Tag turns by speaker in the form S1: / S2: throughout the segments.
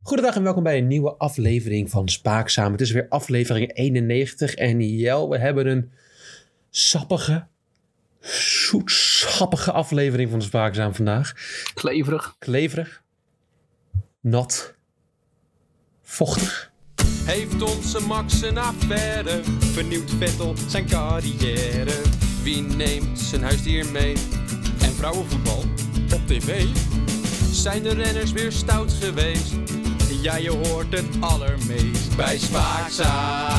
S1: Goedendag en welkom bij een nieuwe aflevering van Spaakzaam. Het is weer aflevering 91 en jel, we hebben een sappige, zoetsappige aflevering van Spaakzaam vandaag.
S2: Kleverig.
S1: Kleverig, nat, vochtig.
S3: Heeft onze Max een affaire? Vernieuwt Vettel zijn carrière? Wie neemt zijn huisdier mee? En vrouwenvoetbal op tv? Zijn de renners weer stout geweest? Ja, je hoort het allermeest bij Spaakzaam.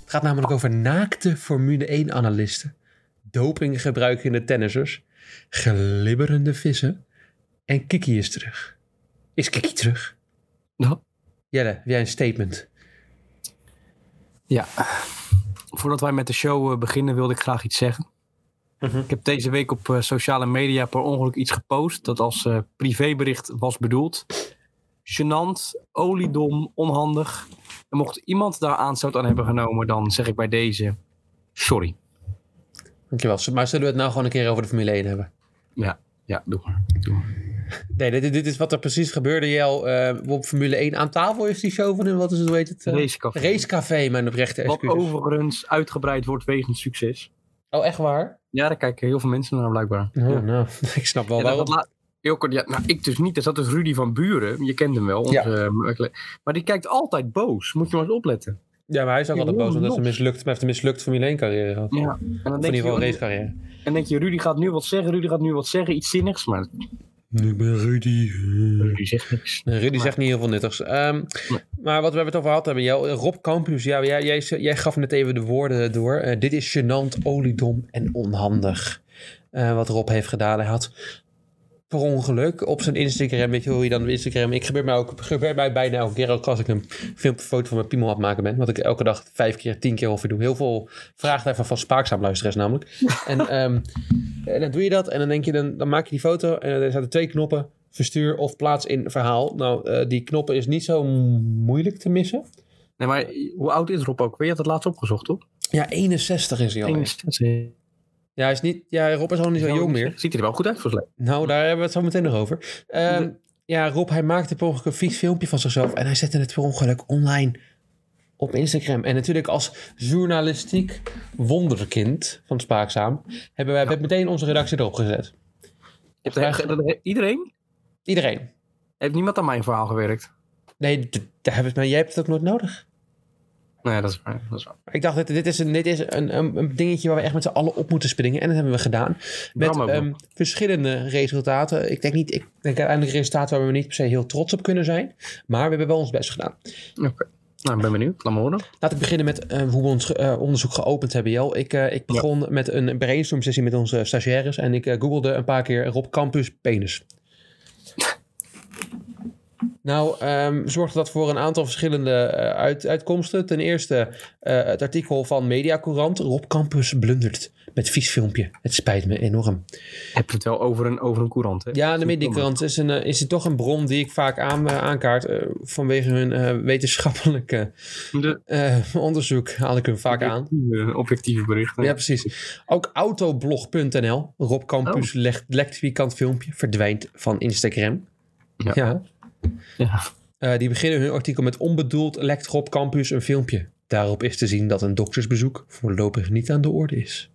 S1: Het gaat namelijk over naakte Formule 1-analisten, dopinggebruikende tennissers, glibberende vissen en Kiki is terug. Is Kiki terug?
S2: Nou,
S1: Jelle, heb jij een statement?
S2: ja. Voordat wij met de show eh, beginnen, wilde ik graag iets zeggen.
S1: Mhm.
S2: Ik heb deze week op eh, sociale media per ongeluk iets gepost dat als eh, privébericht was bedoeld. Genant, oliedom, onhandig. En mocht iemand daar aanstoot aan hebben genomen, dan zeg ik bij deze sorry.
S1: Dankjewel. Maar zullen we het nou gewoon een keer over de Formule 1 hebben?
S2: Ja, doe maar. Doe maar.
S1: Nee, dit, dit is wat er precies gebeurde, Jel. Eh, op Formule 1 aan tafel is die show van hun. Wat is het, hoe heet het? eh?
S2: Racecafé.
S1: Racecafé, mijn oprechte
S2: Wat
S1: excuses.
S2: overigens uitgebreid wordt wegens succes.
S1: Oh, echt waar?
S2: Ja, daar kijken heel veel mensen naar blijkbaar.
S1: Oh,
S2: Ja.
S1: nou, ik snap wel
S2: Ja, dat,
S1: waarom.
S2: dat laat- heel kort, ja, nou, ik dus niet. Er zat dus Rudy van Buren. Je kent hem wel. onze,
S1: Ja.
S2: eh, maar die kijkt altijd boos. Moet je maar eens opletten.
S1: Ja, maar hij is ook
S2: Ja,
S1: altijd boos
S2: heel
S1: omdat hij
S2: los.
S1: mislukt, hij heeft een mislukt Formule 1 carrière gehad.
S2: Ja. En dan
S1: Of in
S2: denk, je,
S1: ieder geval een
S2: Rudy-
S1: racecarrière.
S2: en denk je, Rudy gaat nu wat zeggen. Rudy gaat nu wat zeggen. Iets zinnigs. Maar
S1: Ik ben Rudy.
S2: Rudy eh. zegt niks.
S1: Nee, Rudy zegt niet heel veel nuttigs. Ehm, Maar wat we het over gehad hebben, Jel, eh, Rob Campus, ja, jij, jij, jij gaf net even de woorden door. Eh, dit is gênant, oliedom en onhandig. eh, wat Rob heeft gedaan. Hij had per ongeluk op zijn Instagram, weet je hoe je dan op Instagram... Ik gebeurt mij, ook, gebeurt mij bijna elke keer ook als ik een filmpje foto van mijn piemel aan het maken ben. Wat ik elke dag vijf keer, tien keer ongeveer doe. Heel veel vraagtijden van spaakzaam luisteraars namelijk. en ehm, eh, dan doe je dat en dan denk je, dan, dan maak je die foto en er zaten twee knoppen. Verstuur of plaats in verhaal. Nou, eh, die knoppen is niet zo moeilijk te missen.
S2: Nee, maar hoe oud is Rob ook? Je had het laatst opgezocht, toch?
S1: Ja, 61 is hij al.
S2: 61.
S1: Ja, hij is niet, ja, Rob is al niet zo jong meer.
S2: Ziet er wel goed uit voor zijn
S1: Nou, daar hebben we het zo meteen nog over. Ehm, ja, Rob, hij maakte per ongeluk een vies filmpje van zichzelf. En hij zette het per ongeluk online op Instagram. En natuurlijk als journalistiek wonderkind van Spaakzaam... hebben wij meteen onze redactie erop gezet.
S2: leven. Je hebt- dat- Iedereen?
S1: Iedereen.
S2: Heeft niemand aan mijn verhaal gewerkt?
S1: Nee, d- daar hebben we, maar jij hebt het ook nooit nodig.
S2: Nee, dat is waar. Dat is waar.
S1: Ik dacht, dit, dit is, een, dit is een, een, een dingetje waar we echt met z'n allen op moeten springen. En dat hebben we gedaan. Met
S2: Bram ook
S1: ehm, verschillende resultaten. Ik denk, niet, ik denk uiteindelijk resultaten waar we niet per se heel trots op kunnen zijn. Maar we hebben wel ons best gedaan.
S2: Oké. Nou, ik ben benieuwd. Laat me horen.
S1: Laat ik beginnen met eh, hoe we ons ge- eh, onderzoek geopend hebben, Jel. Ik, eh, ik begon met een brainstorm sessie met onze stagiaires. En ik eh, googelde een paar keer Rob Campus penis. nou, ehm, zorgde dat voor een aantal verschillende eh, uit- uitkomsten. Ten eerste eh, het artikel van Mediacourant. Rob Campus blundert met vies filmpje. Het spijt me enorm.
S2: Heb je het wel over een, over een courant, hè?
S1: Ja, de Mediacourant is, een, eh, is toch een bron die ik vaak aan, eh, aankaart eh, vanwege hun eh, wetenschappelijke
S2: De
S1: eh, onderzoek. Haal ik hun vaak aan.
S2: objectieve, objectieve berichten.
S1: Ja, precies. Ook autoblog.nl. Rob
S2: Oh.
S1: Campus legt, lekt vierkant filmpje. Verdwijnt van Instagram. Ja.
S2: Ja. Ja.
S1: Eh, die beginnen hun artikel met onbedoeld lekt Rob Campus een filmpje. Daarop is te zien dat een doktersbezoek voorlopig niet aan de orde is.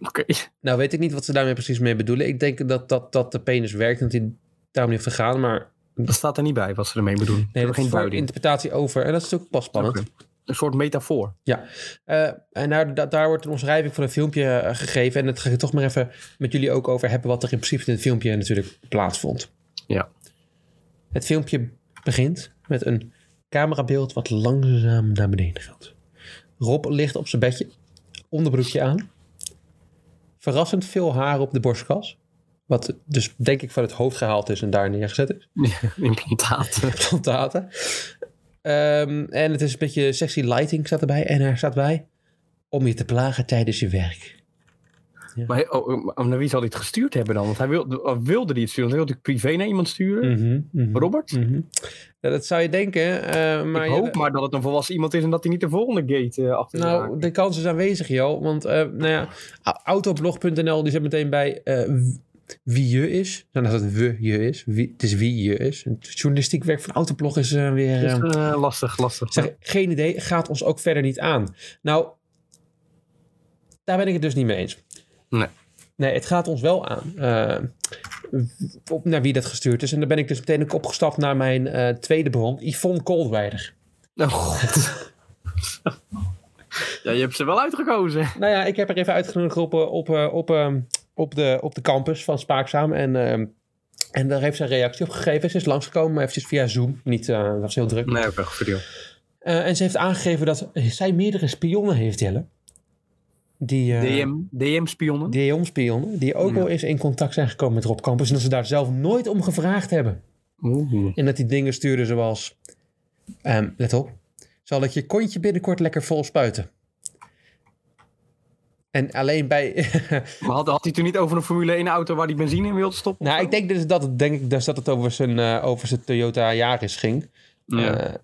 S2: Oké.
S1: Nou weet ik niet wat ze daarmee precies mee bedoelen. Ik denk dat, dat, dat de penis werkt en dat hij daarom niet heeft gegaan. Maar
S2: Dat staat er niet bij wat ze ermee bedoelen.
S1: nee,
S2: Nee,
S1: dat
S2: geen
S1: is voor
S2: duiding.
S1: interpretatie over. En dat is natuurlijk pas spannend.
S2: Oké. Een soort metafoor.
S1: Eh, en daar, da- daar wordt een omschrijving van een filmpje eh, gegeven. En dat ga ik toch maar even met jullie ook over hebben. Wat er in principe in het filmpje natuurlijk plaatsvond.
S2: Ja.
S1: Het filmpje begint met een camerabeeld wat langzaam naar beneden gaat. Rob ligt op zijn bedje, onderbroekje aan. Verrassend veel haar op de borstkas. Wat dus denk ik van het hoofd gehaald is en daar neergezet is
S2: Implantaten.
S1: plantaten. Ehm, en het is een beetje sexy lighting staat erbij. En er staat bij om je te plagen tijdens je werk. Ja.
S2: Maar oh, oh, naar wie zal hij het gestuurd hebben dan? Want hij wilde, oh, wilde hij het sturen. Want hij wilde het privé naar iemand sturen.
S1: Mhm, mhm,
S2: Robert?
S1: mhm. Ja, dat zou je denken. eh, maar
S2: ik
S1: ja,
S2: hoop maar dat het een volwassen iemand is en dat hij niet de volgende gate eh achter
S1: Nou, de kans is aanwezig, joh. Want eh, nou ja, a- autoblog.nl die zet meteen bij eh, w- wie je is. Nou, dat het we je is. Wie, het is wie je is. En Het journalistiek werk van autoblog is eh, weer...
S2: is
S1: eh,
S2: eh, lastig, lastig.
S1: zeg, geen idee, gaat ons ook verder niet aan. Nou, daar ben ik het dus niet mee eens.
S2: Nee.
S1: Nee, het gaat ons wel aan. eh, op, naar wie dat gestuurd is. En dan ben ik dus meteen ook opgestapt naar mijn eh, tweede bron, Yvonne Koolweider.
S2: Oh god. ja, je hebt ze wel uitgekozen.
S1: Nou ja, ik heb er even uitgenodigd op, eh, op, eh, op, eh, op, de, op de campus van Spaakzaam. En, eh, en daar heeft ze een reactie op gegeven. Ze is langsgekomen, maar eventjes via Zoom. Niet, eh was heel druk.
S2: Nee, ook wel goed deal.
S1: Eh, en ze heeft aangegeven dat zij meerdere spionnen heeft, Jelle. Die, eh,
S2: DM, DM-spionnen.
S1: die jongspionnen, die ook
S2: Ja.
S1: wel eens in contact zijn gekomen met Rob Campus. En dat ze daar zelf nooit om gevraagd hebben.
S2: Oeh.
S1: En dat die dingen stuurden zoals... ehm, let op. Zal ik je kontje binnenkort lekker vol spuiten? En alleen bij...
S2: Maar had, had hij toen niet over een Formule 1 auto waar hij benzine in wilde stoppen?
S1: nou, ik denk dus dat het, denk ik dus dat het over zijn, eh, over zijn Toyota Yaris ging.
S2: Ja.
S1: Eh,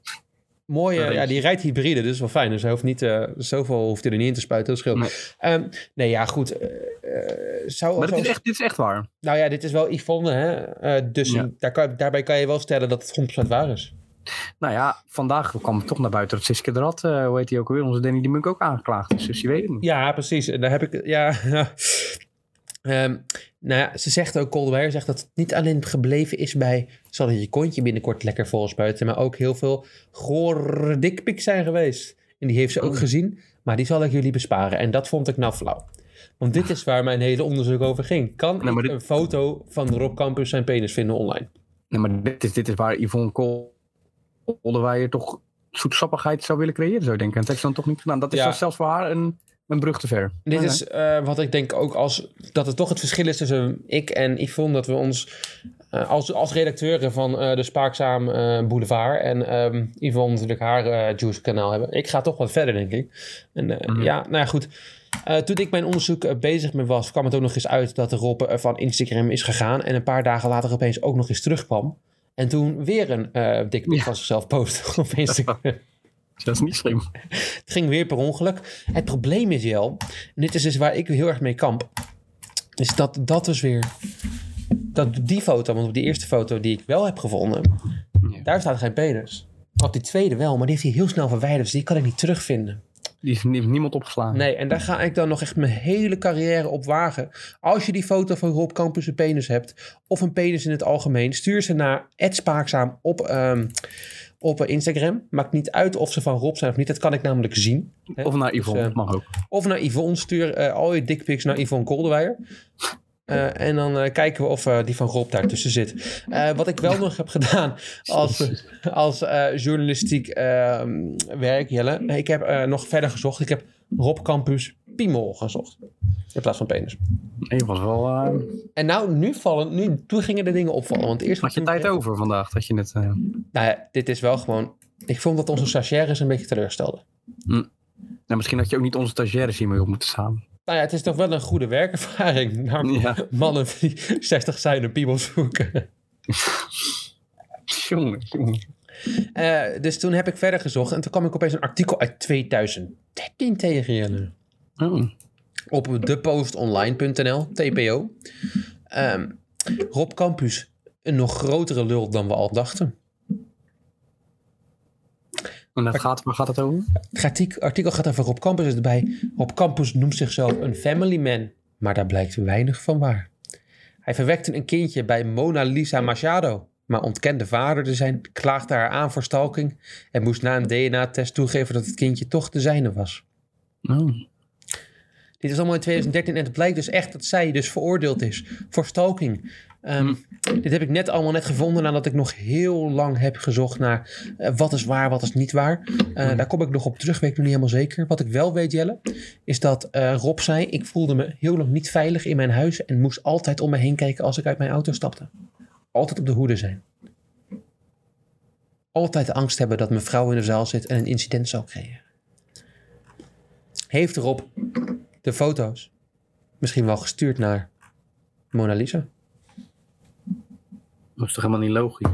S1: mooi, eh,
S2: Een
S1: ja, die rijdt hybride, dus wel fijn. Dus hij hoeft niet, eh, zoveel hoeft hij er niet in te spuiten, dat scheelt.
S2: Nee.
S1: Ehm, nee, ja, goed. eh, eh, zou,
S2: maar dit is,
S1: zou-
S2: echt, dit is echt waar.
S1: Nou ja, dit is wel Yvonne, hè? Eh, dus
S2: Ja.
S1: daar kan, daarbij kan je wel stellen dat het 100% waar is.
S2: Nou ja, vandaag kwam het toch naar buiten dat Siske de Rat, eh, hoe heet hij ook alweer, onze Danny de Munk ook aangeklaagd is. Dus je weet het niet.
S1: Ja, precies. En daar heb ik. Ja. Ehm, nou ja, ze zegt ook, Coldwire zegt dat het niet alleen gebleven is bij. zal je kontje binnenkort lekker volspuiten. maar ook heel veel gore dikpik zijn geweest. En die heeft ze ook
S2: Oh.
S1: gezien, maar die zal ik jullie besparen. En dat vond ik nou flauw. Want dit is waar mijn hele onderzoek over ging. Kan
S2: maar
S1: ik
S2: dit-
S1: een foto van Rob Campus zijn penis vinden online?
S2: Nee, maar dit is, dit is waar Yvonne Kool- Kolderweijer toch zoetsappigheid zou willen creëren, zou ik denken. En dat heeft ze dan toch niet gedaan. Dat is
S1: Ja.
S2: dan zelfs voor haar een, een brug te ver.
S1: Dit
S2: Nee,
S1: is eh, wat ik denk ook als dat het toch het verschil is tussen ik en Yvonne. Dat we ons eh, als, als redacteuren van eh, de Spaakzaam eh, Boulevard en ehm Yvonne natuurlijk haar eh, Juice kanaal hebben. Ik ga toch wat verder, denk ik. En eh,
S2: Mhm.
S1: ja, nou ja, goed. Eh, toen ik mijn onderzoek eh, bezig mee was, kwam het ook nog eens uit dat de Rob eh, van Instagram is gegaan. En een paar dagen later opeens ook nog eens terugkwam. En toen weer een eh dikke
S2: Ja.
S1: van zichzelf postte op Instagram.
S2: Dat is niet slim.
S1: Het ging weer per ongeluk. Het probleem is, Jel, en dit is dus waar ik heel erg mee kamp, is dat dat dus weer, dat die foto, want op die eerste foto die ik wel heb gevonden,
S2: Ja.
S1: daar staat geen penis. Op die tweede wel, maar die heeft hij heel snel verwijderd, dus die kan ik niet terugvinden.
S2: Die is nie- niemand opgeslagen.
S1: Nee, en daar ga ik dan nog echt mijn hele carrière op wagen. Als je die foto van Rob Campus een penis hebt, of een penis in het algemeen, stuur ze naar @spaakzaam op, ehm, op eh, Instagram. Maakt niet uit of ze van Rob zijn of niet, dat kan ik namelijk zien. Hè?
S2: Of naar Yvonne,
S1: Dus,
S2: dat mag ook.
S1: Of naar Yvonne, stuur eh, al je dickpics naar Yvonne Kolderweijer. Eh, en dan eh, kijken we of eh, die van Rob daar tussen zit. Eh, wat ik wel nog heb gedaan als, als eh, journalistiek eh, werk, Jelle. Ik heb eh, nog verder gezocht. Ik heb Rob Campus Piemol gezocht. In plaats van penis.
S2: Nee, was wel, eh,
S1: En nou, nu vallen, nu, toen gingen de dingen opvallen. Want eerst
S2: had je tijd over vandaag dat je het... eh,
S1: Nou ja, dit is wel gewoon... Ik vond dat onze stagiaires een beetje teleurstelden.
S2: nou, misschien had je ook niet onze stagiaires hiermee op moeten staan.
S1: Nou ja, het is toch wel een goede werkervaring. Naar
S2: Ja,
S1: mannen die 60 zijn een piemel zoeken.
S2: jongen. jongen.
S1: Eh, dus toen heb ik verder gezocht en toen kwam ik opeens een artikel uit 2013 tegen Jelle.
S2: Oh.
S1: Op depostonline.nl, TPO. Ehm, Rob Campus, een nog grotere lul dan we al dachten.
S2: En dat gaat, waar gaat het over?
S1: Het artikel- artikel gaat over Rob Campus erbij. Rob Campus noemt zichzelf een family man, maar daar blijkt weinig van waar. Hij verwekte een kindje bij Mona Lisa Machado, maar ontkende vader te zijn, klaagde haar aan voor stalking en moest na een DNA-test toegeven dat het kindje toch de zijne was.
S2: Oh.
S1: Dit is allemaal in 2013 en het blijkt dus echt dat zij dus veroordeeld is voor stalking. Ehm, Dit heb ik net allemaal net gevonden nadat ik nog heel lang heb gezocht naar eh, wat is waar, wat is niet waar. Eh, Daar kom ik nog op terug, weet ik nog niet helemaal zeker. Wat ik wel weet, Jelle, is dat eh, Rob zei, ik voelde me heel lang niet veilig in mijn huis en moest altijd om me heen kijken als ik uit mijn auto stapte. Altijd op de hoede zijn. Altijd angst hebben dat mijn vrouw in de zaal zit en een incident zou creëren. Heeft Rob de foto's Misschien wel gestuurd naar Mona Lisa.
S2: Dat is toch helemaal niet logisch?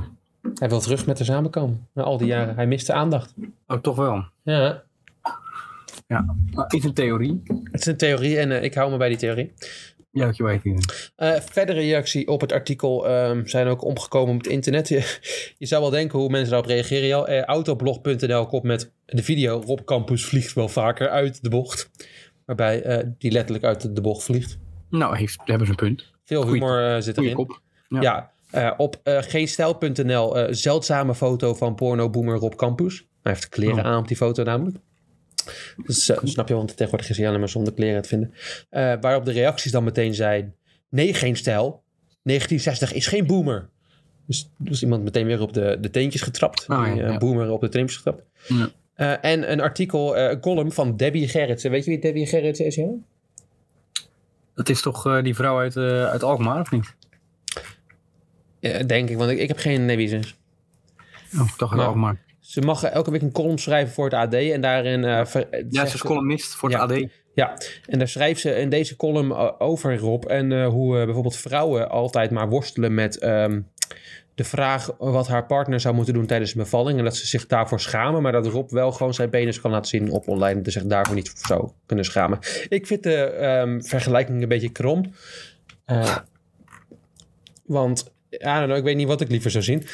S1: Hij wil terug met haar samenkomen. Na al die jaren. Hij mist de aandacht.
S2: Oh, toch wel.
S1: Ja.
S2: Ja. Ah, Is een theorie.
S1: Het is een theorie en eh, ik hou me bij die theorie.
S2: Ja, wat je weet. Ian.
S1: Eh, verdere reactie op het artikel ehm, zijn ook omgekomen op het internet. Je, je zou wel denken hoe mensen daarop reageren. Jel. Eh, Autoblog.nl komt met de video. Rob Campus vliegt wel vaker uit de bocht. Waarbij eh, die letterlijk uit de bocht vliegt.
S2: Nou, heeft, hebben ze een punt.
S1: Veel
S2: Goeie-
S1: humor eh, zit
S2: Goeie
S1: erin.
S2: kop.
S1: Ja, eh, op eh, geenstijl.nl eh, zeldzame foto van pornoboomer Rob Campus. Hij heeft kleren
S2: Oh.
S1: aan op die foto namelijk. Dus eh, snap je, want tegenwoordig is hij alleen maar zonder kleren te vinden. Eh, waarop de reacties dan meteen zijn... Nee, geen stijl. 1960 is geen boomer. Dus, dus iemand meteen weer op de, de teentjes getrapt.
S2: Ah, ja,
S1: die, eh,
S2: ja.
S1: Boomer op de teentjes getrapt.
S2: Ja.
S1: Eh, en een artikel, eh, een column van Debbie Gerritsen. Weet je wie Debbie Gerritsen is, Jan?
S2: Dat is toch eh, die vrouw uit, eh, uit Alkmaar, of niet?
S1: Eh, denk ik, want ik, ik heb geen idee wie ze is.
S2: Oh, toch uit
S1: Ja.
S2: Alkmaar.
S1: Ze mag elke week een column schrijven voor het AD en daarin... eh, ver-
S2: Ja,
S1: zegt
S2: ze is columnist voor
S1: Ja.
S2: het AD.
S1: Ja, en daar schrijft ze in deze column eh, over Rob en eh, hoe eh, bijvoorbeeld vrouwen altijd maar worstelen met ehm, de vraag wat haar partner zou moeten doen tijdens een bevalling en dat ze zich daarvoor schamen, maar dat Rob wel gewoon zijn penis kan laten zien op online en dus zich daarvoor niet voor zou kunnen schamen. Ik vind de ehm, vergelijking een beetje krom, Eh, want I don't know, ik weet niet wat ik liever zou zien.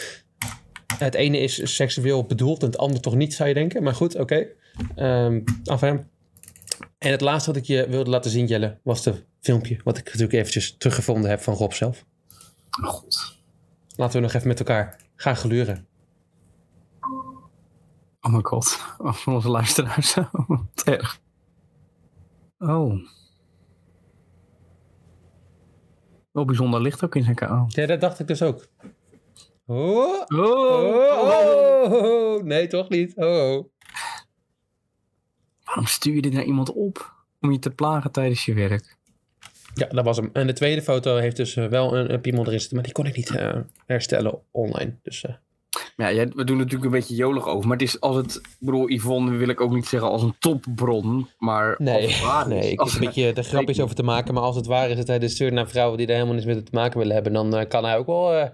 S1: Het ene is seksueel bedoeld en het andere toch niet, zou je denken. Maar goed, oké. Ehm enfin, en het laatste wat ik je wilde laten zien, Jelle, was het filmpje. Wat ik natuurlijk eventjes teruggevonden heb van Rob zelf.
S2: Oh, god.
S1: Laten we nog even met elkaar gaan gluren.
S2: Oh my god. Oh, van onze luisteraars. Wat erg. Oh. Wel bijzonder licht ook in zijn kamer.
S1: Ja, dat dacht ik dus ook. Oh,
S2: Oh.
S1: oh, oh,
S2: oh.
S1: oh. Nee, toch niet. Oh, oh.
S2: Waarom stuur je dit naar iemand op? Om je te plagen tijdens je werk.
S1: Ja, dat was hem. En de tweede foto heeft dus eh, wel een, een piemel erin zitten. Maar die kon ik niet eh, herstellen online. Dus eh,
S2: Ja, jij- we doen er natuurlijk een beetje jolig over. Maar het is als het... Ik bedoel, Yvonne wil ik ook niet zeggen als een topbron. Maar als het waar is.
S1: Ah, nee, ik
S2: als,
S1: heb een beetje eh, de grapjes over te maken. Maar als het waar is dat hij de stuurt naar vrouwen die daar helemaal niks mee te maken willen hebben, dan eh, kan hij ook wel eh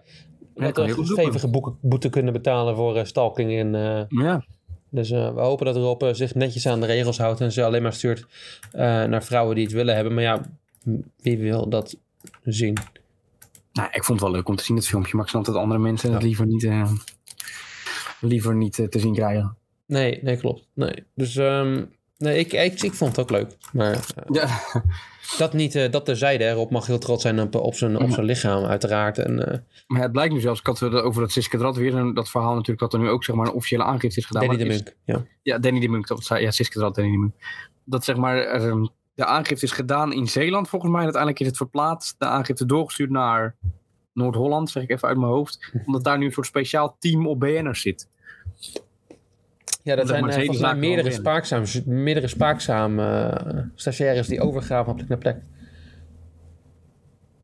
S1: wat
S2: kan
S1: een
S2: heel goed
S1: stevige boeken- boete kunnen betalen voor eh, stalking. En, eh,
S2: Ja,
S1: dus eh, we hopen dat Rob eh, zich netjes aan de regels houdt en ze alleen maar stuurt eh, naar vrouwen die het willen hebben. Maar ja, m- wie wil dat zien?
S2: nou, ik vond het wel leuk om te zien het filmpje. Maar ik snap dat andere mensen het liever niet, eh, liever niet eh, te zien krijgen.
S1: Nee, nee, klopt. Nee. Dus ehm, nee, ik, ik, ik vond het ook leuk. Maar eh,
S2: Ja.
S1: dat niet, eh dat terzijde. hè. Rob mag heel trots zijn op, op, zijn, op zijn lichaam, uiteraard. En, eh,
S2: Maar het blijkt nu zelfs, ik had het over dat Siska Drat weer, en dat verhaal natuurlijk, dat er nu ook zeg maar, een officiële aangifte is gedaan.
S1: Danny de
S2: maar het is-
S1: Munk. Ja.
S2: Ja, Danny de Munk. Dat, zei- ja, Siska Drat, Danny de Munk. Dat zeg maar, er, ehm, de aangifte is gedaan in Zeeland volgens mij. En uiteindelijk is het verplaatst, de aangifte doorgestuurd naar Noord-Holland, zeg ik even uit mijn hoofd. Omdat daar nu een soort speciaal team op BN'ers zit.
S1: Ja, dat
S2: Omdat
S1: zijn
S2: maar
S1: eh,
S2: hele
S1: volgens mij
S2: zaken wel
S1: meerdere
S2: winnen.
S1: spaakzaam, meerdere spaakzaam eh, stagiaires die overgaan van plek naar plek.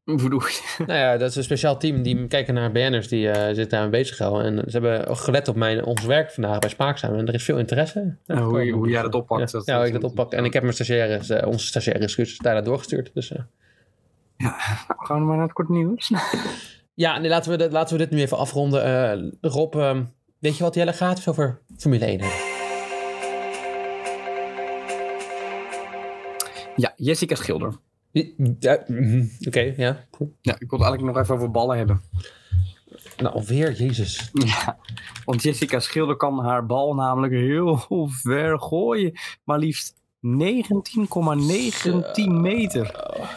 S2: Hoe bedoel je?
S1: nou ja, dat is een speciaal team die kijken naar BN'ers die eh zich daarmee bezighouden. En ze hebben gelet op mijn, ons werk vandaag bij Spaakzaam. En er is veel interesse.
S2: Ja, hoe je- hoe jij dat oppakt,
S1: Ja,
S2: dat-
S1: ja, hoe ik dat oppak. En ik heb mijn stagiaires, eh, onze stagiaires, excuses, daarna doorgestuurd. Dus, eh.
S2: Nou, gaan we maar naar het kort nieuws.
S1: Ja, nee, laten, we dit, laten we dit nu even afronden. Eh, Rob, ehm, weet je wat Jelle gaat? Het is over Formule 1. hebben.
S2: Ja, Jessica Schilder.
S1: Ja, mhm. Oké, ja. goed.
S2: Ja, ik wil het eigenlijk nog even over ballen hebben.
S1: Nou, alweer, jezus.
S2: Ja, want Jessica Schilder kan haar bal namelijk heel ver gooien. Maar liefst 19,19 meter.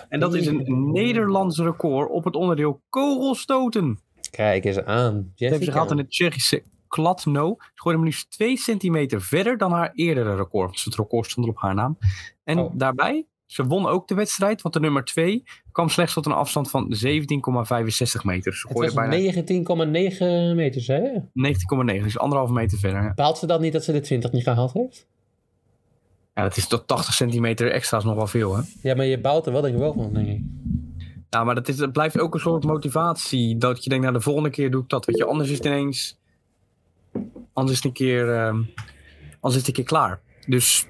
S2: En dat is een Nederlands record op het onderdeel kogelstoten.
S1: Kijk eens aan.
S2: Dat heeft
S1: Jessica.
S2: ze gehad in het Tsjechische Kladno. Ze gooide hem liefst 2 centimeter verder dan haar eerdere record. Dus het record stond op haar naam. En
S1: Oh.
S2: daarbij, ze won ook de wedstrijd. Want de nummer 2 kwam slechts tot een afstand van 17,65 meter. Ze
S1: Het
S2: gooide
S1: was
S2: bijna
S1: 19,9 meter, zei je?
S2: 19,9. Dus anderhalve meter verder.
S1: Bepaalt ze dan niet dat ze de 20 niet gehaald heeft?
S2: Ja, dat is tot 80 centimeter extra is nog wel veel, hè?
S1: Ja, maar je baalt er wel denk ik wel van, denk ik.
S2: Ja, maar dat, is, dat blijft ook een soort motivatie. Dat je denkt, nou, de volgende keer doe ik dat. Weet je, anders is het ineens... Anders is het een keer, ehm, anders is het een keer klaar. Dus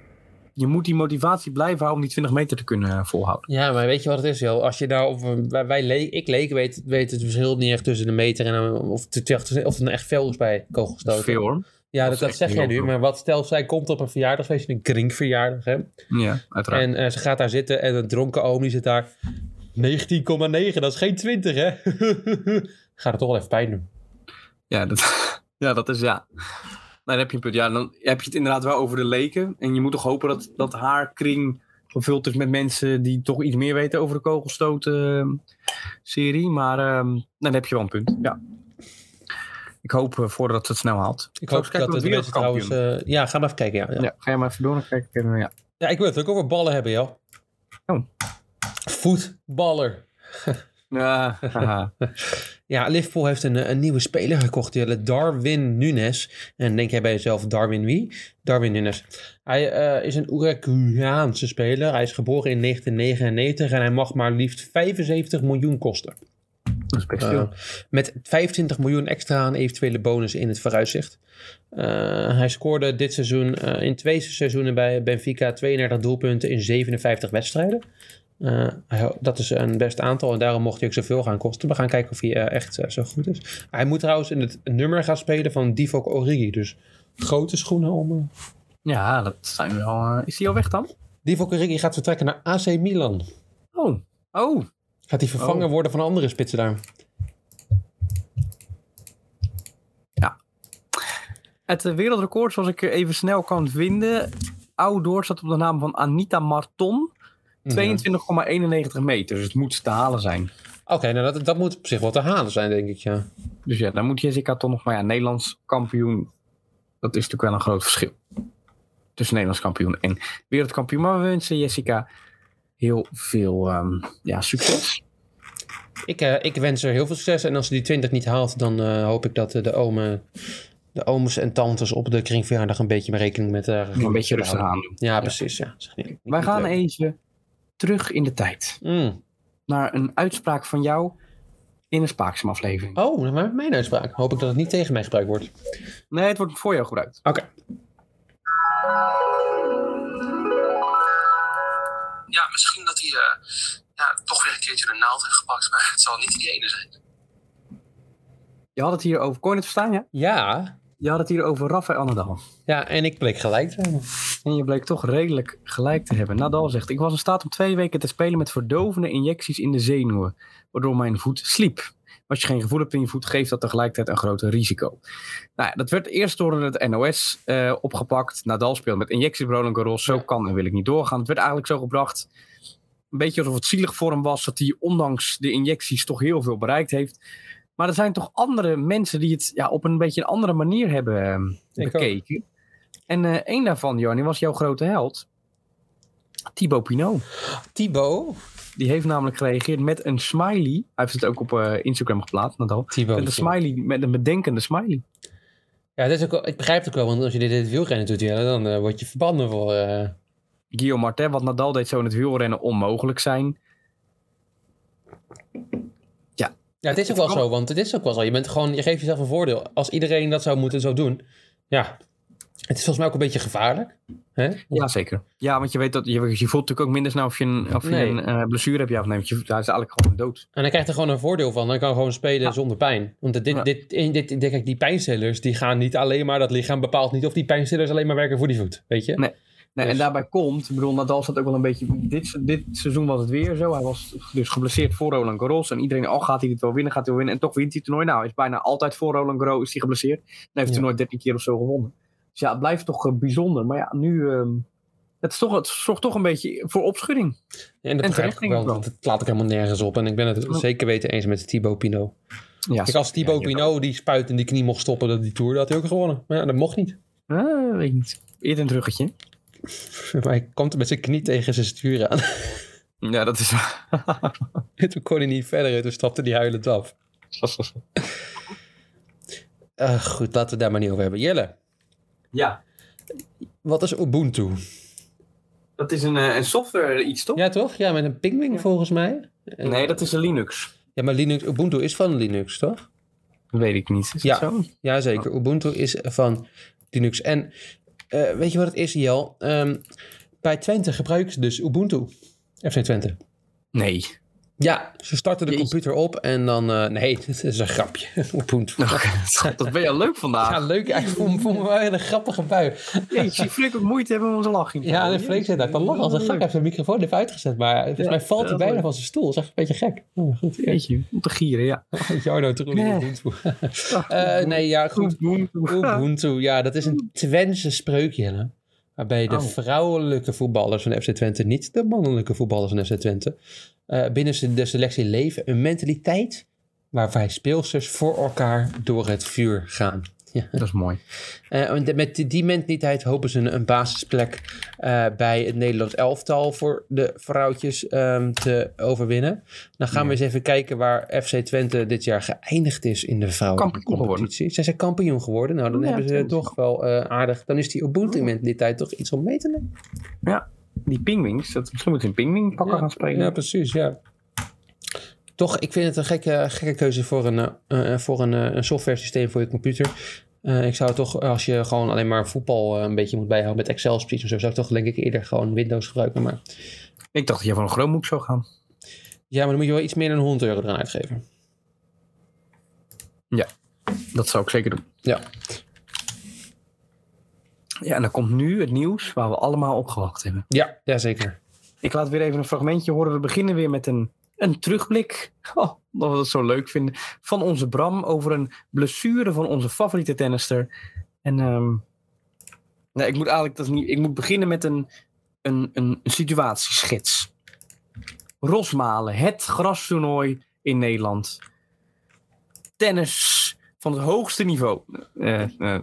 S2: je moet die motivatie blijven houden om die 20 meter te kunnen eh, volhouden.
S1: Ja, maar weet je wat het is, joh? Als je daar op, een- wij, wij le- ik leek, weet, weet het verschil niet echt tussen de meter en een- of, de 80 of er echt veel is bij
S2: Dat is
S1: kogelstoten.
S2: veel hoor.
S1: Ja, dat,
S2: is
S1: dat
S2: echt
S1: zeg jij
S2: heel
S1: nu.
S2: veel.
S1: Maar wat stel, zij komt op een verjaardagsfeestje, een kringverjaardag, hè?
S2: Ja, uiteraard.
S1: En eh, ze gaat daar zitten en een dronken oom die zit daar. 19,9, dat is geen 20, hè? gaat het toch wel even pijn doen.
S2: Ja, dat, ja, dat is ja. Nou, dan heb je een punt. Ja, dan heb je het inderdaad wel over de leken. En je moet toch hopen dat, dat haar kring gevuld is met mensen die toch iets meer weten over de kogelstoten-serie. Maar ehm, nou, dan heb je wel een punt. Ja. Ik hoop eh, voordat ze het snel haalt.
S1: Ik hoop
S2: Zal eens kijken
S1: dat
S2: naar
S1: de
S2: het
S1: mensen trouwens...
S2: wereldkampioen?
S1: eh, ja, ga maar even kijken, ja. ja.
S2: Ja. ga je maar even door en kijk. eh, Ja.
S1: Ja, ik wil het ook over ballen hebben, joh.
S2: Oh.
S1: Voetballer.
S2: Ja, haha.
S1: Ja, Liverpool heeft een, eh, een nieuwe speler gekocht, Jelle. Darwin Nunes. En denk jij bij jezelf, Darwin wie? Darwin Nunes. Hij eh, is een Uruguayaanse speler. Hij is geboren in 1999 en hij mag maar liefst 75 miljoen kosten.
S2: dat is best
S1: Eh,
S2: veel.
S1: met 25 miljoen extra aan eventuele bonus in het vooruitzicht. Eh, hij scoorde dit seizoen eh, in twee seizoenen bij Benfica 32 doelpunten in 57 wedstrijden. Eh, hij- dat is een best aantal en daarom mocht hij ook zoveel gaan kosten. We gaan kijken of hij eh, echt eh, zo goed is. Hij moet trouwens in het nummer gaan spelen van Divock Origi. Dus grote schoenen om. eh.
S2: Ja, dat zijn wel. eh, is die al weg dan?
S1: Divock Origi gaat vertrekken naar AC Milan.
S2: Oh. Oh.
S1: Gaat hij vervangen
S2: Oh.
S1: worden van andere spitsen daar?
S2: Het eh, wereldrecord, zoals ik er even snel kan vinden. Outdoor staat op de naam van Anita Marton. 22,91 meter. Dus het moet te halen zijn.
S1: Oké, nou dat, dat moet op zich wel te halen zijn, denk ik. Ja.
S2: Dus ja, dan moet Jessica toch nog. Maar ja, Nederlands kampioen. Dat is natuurlijk wel een groot verschil. Tussen Nederlands kampioen en wereldkampioen. Maar we wensen Jessica heel veel ehm, ja, succes.
S1: Ik, eh, ik wens haar heel veel succes. En als ze die 20 niet haalt, dan eh, hoop ik dat eh, de omen, de ooms en tantes op de kringverjaardag een beetje meer rekening met haar
S2: Een beetje rustig aan doen.
S1: Ja, precies. Ja. Zeg niet-
S2: Wij
S1: niet
S2: gaan
S1: leuk.
S2: even terug in de tijd.
S1: Mm.
S2: Naar een uitspraak van jou in een Spaakzaam aflevering.
S1: Oh, maar mijn uitspraak. Hoop ik dat het niet tegen mij gebruikt wordt. Oké.
S2: Nee, het wordt voor jou gebruikt.
S4: ja, misschien dat hij eh, ja, toch weer een keertje de naald heeft gepakt. Maar het zal niet die ene zijn.
S2: Je had het hier over, kon je het verstaan, ja?
S1: Ja.
S2: Je had het hier over Rafael Nadal.
S1: Ja, en ik bleek gelijk te hebben.
S2: En je bleek toch redelijk gelijk te hebben. Nadal zegt, ik was in staat om twee weken te spelen met verdovende injecties in de zenuwen. Waardoor mijn voet sliep. Als je geen gevoel hebt in je voet, geeft dat tegelijkertijd een groter risico. Nou ja, dat werd eerst door het NOS eh, opgepakt. Nadal speelde met injecties bij Roland Garros. Zo kan en wil ik niet doorgaan. Het werd eigenlijk zo gebracht, een beetje alsof het zielig voor hem was... dat hij ondanks de injecties toch heel veel bereikt heeft. Maar er zijn toch andere mensen die het ja, op een beetje een andere manier hebben ehm,
S1: Ik ook.
S2: bekeken. En eh één daarvan, Johnny, was jouw grote held. Thibaut Pinot.
S1: Thibaut.
S2: Die heeft namelijk gereageerd met een smiley. Hij heeft het ook op eh, Instagram geplaatst, Nadal.
S1: Thibaut.
S2: Met een smiley, met een bedenkende smiley.
S1: Ja, dat is ook, wel- ik begrijp het ook wel, want als je dit in het wielrennen doet, Jelle, dan eh, word je verbannen voor... eh,
S2: Guillaume Martin, wat Nadal deed zou in het wielrennen onmogelijk zijn.
S1: Ja, het is ook wel zo, want het is ook wel zo. Je, bent gewoon, je geeft jezelf een voordeel. Als iedereen dat zou moeten zo doen, ja. Het is volgens mij ook een beetje gevaarlijk. Hè?
S2: Ja, zeker. Ja, want je weet dat je, je voelt natuurlijk ook minder snel of je een, of je
S1: Nee.
S2: een eh, blessure hebt. Ja, of nee, want je, hij is eigenlijk gewoon dood.
S1: En hij krijgt er gewoon een voordeel van. Hij kan gewoon spelen
S2: Ja.
S1: zonder pijn. Want dit,
S2: Ja.
S1: dit, in- dit, dit, kijk, die pijnstillers, die gaan niet alleen maar... Dat lichaam bepaalt niet of die pijnstillers alleen maar werken voor die voet. Weet je?
S2: Nee. Nee,
S1: Dus-
S2: En daarbij komt, ik bedoel, Nadal zat ook wel een beetje. Dit, se- dit seizoen was het weer zo. Hij was dus geblesseerd voor Roland Garros. En iedereen, al gaat hij dit wel winnen, gaat hij wel winnen. En toch wint hij het toernooi. Nou, hij is bijna altijd voor Roland Garros is hij geblesseerd. En hij heeft het
S1: Ja.
S2: toernooi 13 keer of zo gewonnen. Dus ja, het blijft toch eh, bijzonder. Maar ja, nu. ehm, het, is toch, het zorgt toch een beetje voor opschudding.
S1: En dat
S2: En
S1: begrijp ik ook
S2: terecht
S1: wel.
S2: denk ik
S1: want Dat laat ik helemaal nergens op. En ik ben het
S2: Ja.
S1: zeker weten eens met Thibaut Pinot.
S2: Ja,
S1: Kijk, als Thibaut
S2: ja, je-
S1: Pinot die spuit in die knie mocht stoppen... Dat die Tour, dat had hij ook gewonnen. Maar ja, dat mocht niet.
S2: Ah, weet ik niet. Eerder een teruggetje.
S1: Maar hij komt met zijn knie tegen zijn stuur aan.
S2: Ja, dat is.
S1: Toen kon hij niet verder. Toen stapte hij huilend af. Eh, goed, laten we het daar maar niet over hebben. Jelle,
S2: ja,
S1: wat is Ubuntu?
S2: dat is een, eh, een software iets toch?
S1: Ja, toch? Ja, met een pingwing volgens mij. En-
S2: Nee, dat is een Linux.
S1: Ja, maar Linux, Ubuntu is van Linux, toch?
S2: Weet ik niet. Is
S1: Ja.
S2: dat zo?
S1: Jazeker, Ubuntu is van Linux. En eh, weet je wat het is, Jel? Ehm, Bij Twente gebruiken ze dus Ubuntu. FC Twente.
S2: Nee.
S1: Ja, ze starten de
S2: Jeetje.
S1: computer op en dan... eh, nee, dit is een grapje. Ubuntu.
S2: dat ben je leuk vandaag.
S1: Ja, leuk. Ik vond, vond me wel een grappige bui.
S2: Jeetje, Flik ook moeite hebben om zijn lachen.
S1: Ja, en Freek zit daar te lachen als een gek. Hij heeft zijn microfoon even uitgezet. Maar volgens
S2: Oh, Ja,
S1: mij valt hij
S2: dat
S1: bijna
S2: leuk.
S1: van zijn stoel. Dat is echt een beetje gek. Oh, maar goed. Ja.
S2: Jeetje, om te gieren, ja.
S1: Jarno Troen in
S2: Nee.
S1: Ubuntu. Eh, nee, ja, goed. Ubuntu, ja, dat is een Twentse spreukje. Hè? Waarbij de
S2: Oh.
S1: vrouwelijke voetballers van FC Twente niet de mannelijke voetballers van FC Twente. eh, binnen ze- de selectie leven een mentaliteit waarbij speelsters voor elkaar door het vuur gaan. Ja.
S2: Dat is mooi.
S1: Eh, en de- met die- die mentaliteit hopen ze een, een basisplek eh, bij het Nederlands elftal voor de vrouwtjes ehm, te overwinnen. Dan gaan we eens even kijken waar FC Twente dit jaar geëindigd is in de vrouwencompetitie. Zijn ze kampioen geworden? Nou, dan
S2: Ja,
S1: hebben ze
S2: tuurlijk.
S1: toch wel eh, aardig. Dan is die Ubuntu-mentaliteit toch iets om mee te nemen.
S2: Ja, die pingwings, dat, misschien moet ik een pingwing pakken gaan spelen.
S1: Ja, precies, ja. Toch, ik vind het een gekke, gekke keuze voor een, eh, eh, voor een, eh, een software systeem voor je computer. Eh, ik zou toch, als je gewoon alleen maar voetbal eh, een beetje moet bijhouden met Excel spreadsheets en zo, zou ik toch denk ik eerder gewoon Windows gebruiken. Maar
S2: Ik dacht dat je van een Chromebook zou gaan.
S1: ja, maar dan moet je wel iets meer dan 100 euro eraan uitgeven.
S2: Dat zou ik zeker doen.
S1: Ja.
S2: Ja, en dan komt nu het nieuws waar we allemaal op gewacht hebben.
S1: Ja, ja zeker.
S2: Ik laat weer even een fragmentje horen. We beginnen weer met een, een terugblik. Oh, dat we dat zo leuk vinden. Van onze Bram over een blessure van onze favoriete tennister. En ehm, nee, ik moet eigenlijk dat is niet. Ik moet beginnen met een, een, een situatieschets. Rosmalen, het grastoernooi in Nederland. Tennis van het hoogste niveau. Eh, eh,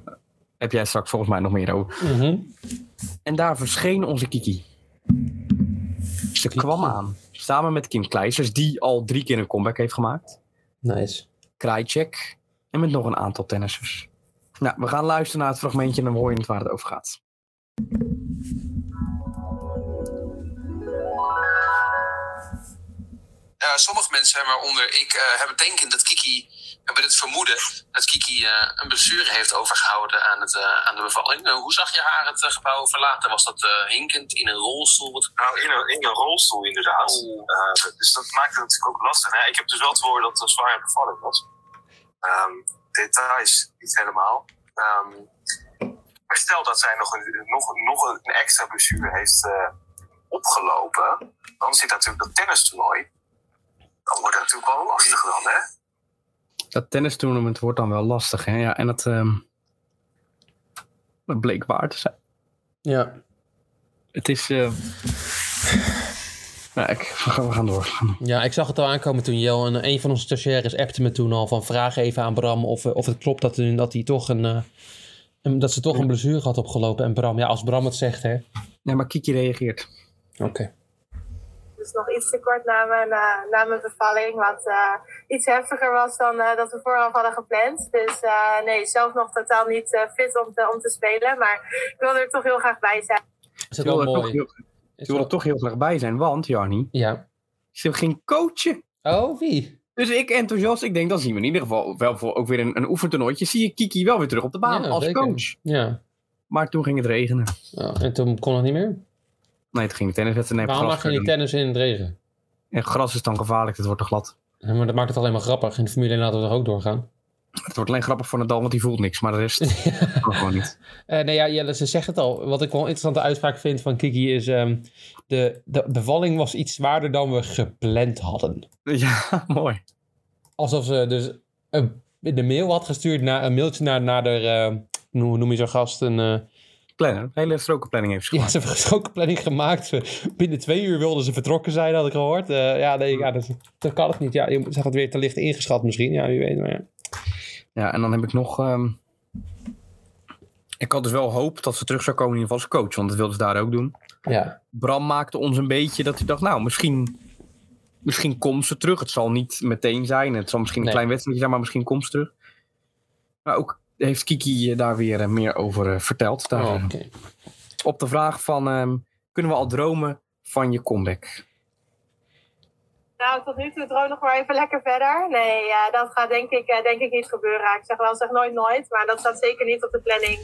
S2: heb jij straks volgens mij nog meer over.
S1: Mhm.
S2: En daar verscheen onze Kiki. Ze kwam aan. Samen met Kim Kleisers, die al drie keer een comeback heeft gemaakt.
S1: Nice.
S2: Krajcek. En met nog een aantal tennissers. Nou, we gaan luisteren naar het fragmentje en dan hoor je het waar het over gaat.
S4: Ja, Eh, sommige mensen, waaronder ik, eh, hebben denken dat Kiki, hebben het vermoeden dat Kiki eh, een blessure heeft overgehouden aan, het, eh, aan de bevalling. Eh, hoe zag je haar het eh, gebouw verlaten? Was dat eh, hinkend in een rolstoel? Wat...
S5: Nou, in een, in een rolstoel inderdaad. Eh, dus dat maakt het natuurlijk ook lastig. Hè? Ik heb dus wel te horen dat het een zware bevalling was. Ehm, details niet helemaal. Ehm, maar stel dat zij nog een, nog, nog een extra blessure heeft eh, opgelopen, dan zit natuurlijk dat tennistoernooi. Dan wordt het natuurlijk wel lastig dan, hè?
S2: Dat tennistoernooi wordt dan wel lastig, hè? Ja, en dat, ehm, dat bleek waar te zijn.
S1: Ja,
S2: Het is... eh, Nou, ik, we gaan- we gaan door.
S1: ja, ik zag het al aankomen toen Jel en een van onze stagiaires appte me toen al van vraag even aan Bram of, eh, of het klopt dat, dat, hij toch een, eh, een- dat ze toch een blessure had opgelopen. En Bram, ja, als Bram het zegt, hè.
S2: Ja, maar Kiki reageert.
S1: Oké.
S6: Dus nog iets te kort na mijn, eh, na mijn bevalling. Wat eh, iets heftiger was dan eh, dat we vooraf hadden gepland. Dus eh, nee, zelf nog totaal niet eh, fit om te, om te spelen. Maar ik wilde er toch heel graag bij zijn.
S1: Is
S2: Ze
S1: dat wel
S2: wil er toch
S1: mooi?
S2: heel-
S1: Is
S2: ze wil er
S1: dat-
S2: toch heel graag bij zijn, want, Jarni,
S1: Ja.
S2: ze ging coachen.
S1: Oh, wie?
S2: Dus ik enthousiast, ik denk dan zien we in ieder geval wel voor ook weer een, een oefentoernooitje. Zie je Kiki wel weer terug op de baan
S1: Ja,
S2: als
S1: zeker.
S2: coach.
S1: Ja.
S2: Maar toen ging het regenen.
S1: Oh, en toen kon het niet meer?
S2: Nee, toen ging de tenniswedstrijd. Nee, op
S1: Waarom
S2: gras
S1: lag je die
S2: verder.
S1: tennis in het regen?
S2: En gras is dan gevaarlijk, het wordt te glad.
S1: Ja, maar dat maakt het alleen maar grappig. In de Formule 1 laten we er ook doorgaan.
S2: Het wordt alleen grappig voor Nadal, want die voelt niks. Maar de rest kan gewoon niet.
S1: Eh, nee, ja, Jelle, ze zegt het al. Wat ik wel een interessante uitspraak vind van Kiki is... ehm, de, de bevalling was iets zwaarder dan we gepland hadden.
S2: Dus Ja, mooi.
S1: Alsof ze dus een, de mail had gestuurd, naar, een mailtje naar, naar de... eh, hoe noem je zo'n gast? Een, eh,
S2: Plannen. Een hele strokenplanning heeft ze
S1: Ja,
S2: gemaakt.
S1: ze hebben ook een planning gemaakt. Ze- Binnen twee uur wilden ze vertrokken zijn, had ik gehoord. Eh, ja, nee, ja, dat, dat kan het niet. Ja, je moet- ze had het weer te licht ingeschat misschien. Ja, wie weet. Maar ja.
S2: Ja. en dan heb ik nog... ehm, Ik had dus wel hoop dat ze terug zou komen in ieder geval als coach. Want dat wilden ze daar ook doen.
S1: ja.
S2: Bram maakte ons een beetje dat hij dacht, nou, misschien, misschien komt ze terug. Het zal niet meteen zijn. Het zal misschien een
S1: Nee.
S2: klein wedstrijdje zijn, maar misschien komt ze terug. Maar ook heeft Kiki eh, daar weer eh, meer over eh, verteld. Daar,
S1: Oh,
S2: eh,
S1: oké.
S2: Op de vraag van, ehm, kunnen we al dromen van je comeback?
S6: Nou, tot nu toe droom nog maar even lekker verder. Nee, eh, dat gaat denk ik, eh, denk ik niet gebeuren. Ik zeg wel, zeg nooit nooit, maar dat staat zeker niet op de planning.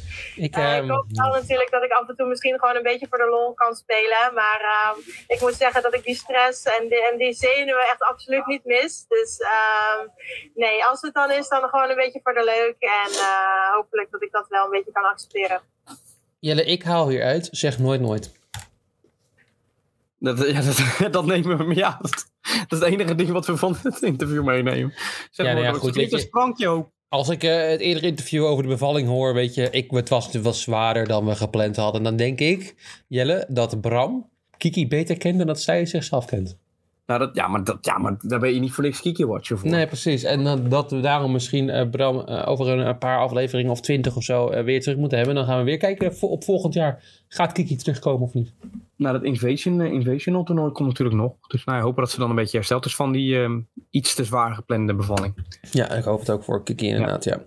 S1: Ik,
S6: Eh,
S1: ehm,
S6: ik hoop wel natuurlijk dat ik af en toe misschien gewoon een beetje voor de lol kan spelen. Maar ehm, ik moet zeggen dat ik die stress en die, en die zenuwen echt absoluut niet mis. Dus ehm, nee, als het dan is, dan gewoon een beetje voor de leuk. En eh, hopelijk dat ik dat wel een beetje kan accepteren.
S1: Jelle, ik haal hieruit. Zeg nooit nooit.
S2: Dat, ja, dat, dat nemen we mee. Ja, dat, dat is het enige ding wat we van het interview meenemen. Zeg
S1: Ja, nou ja,
S2: dat
S1: goed,
S2: is niet
S1: weet
S2: een
S1: je-
S2: sprankje ook.
S1: Als ik eh, het eerdere interview over de bevalling hoor, weet je, ik, het was natuurlijk wel zwaarder dan we gepland hadden. Dan denk ik, Jelle, dat Bram Kiki beter kent dan dat zij zichzelf kent.
S2: Nou, dat, ja, maar dat, ja, maar daar ben je niet voor niks Kiki Watcher voor.
S1: Nee, precies. En dat- dat we daarom misschien eh, Bram eh, over een, een paar afleveringen of twintig of zo eh, weer terug moeten hebben. Dan gaan we weer kijken vo- op volgend jaar. Gaat Kiki terugkomen of niet?
S2: Nou, dat Invasion, eh, Invasional toernooi komt natuurlijk nog. Dus nou, ja, hopen dat ze dan een beetje hersteld is van die ehm, iets te zwaar geplande bevalling.
S1: Ja, ik hoop het ook voor Kiki inderdaad, ja.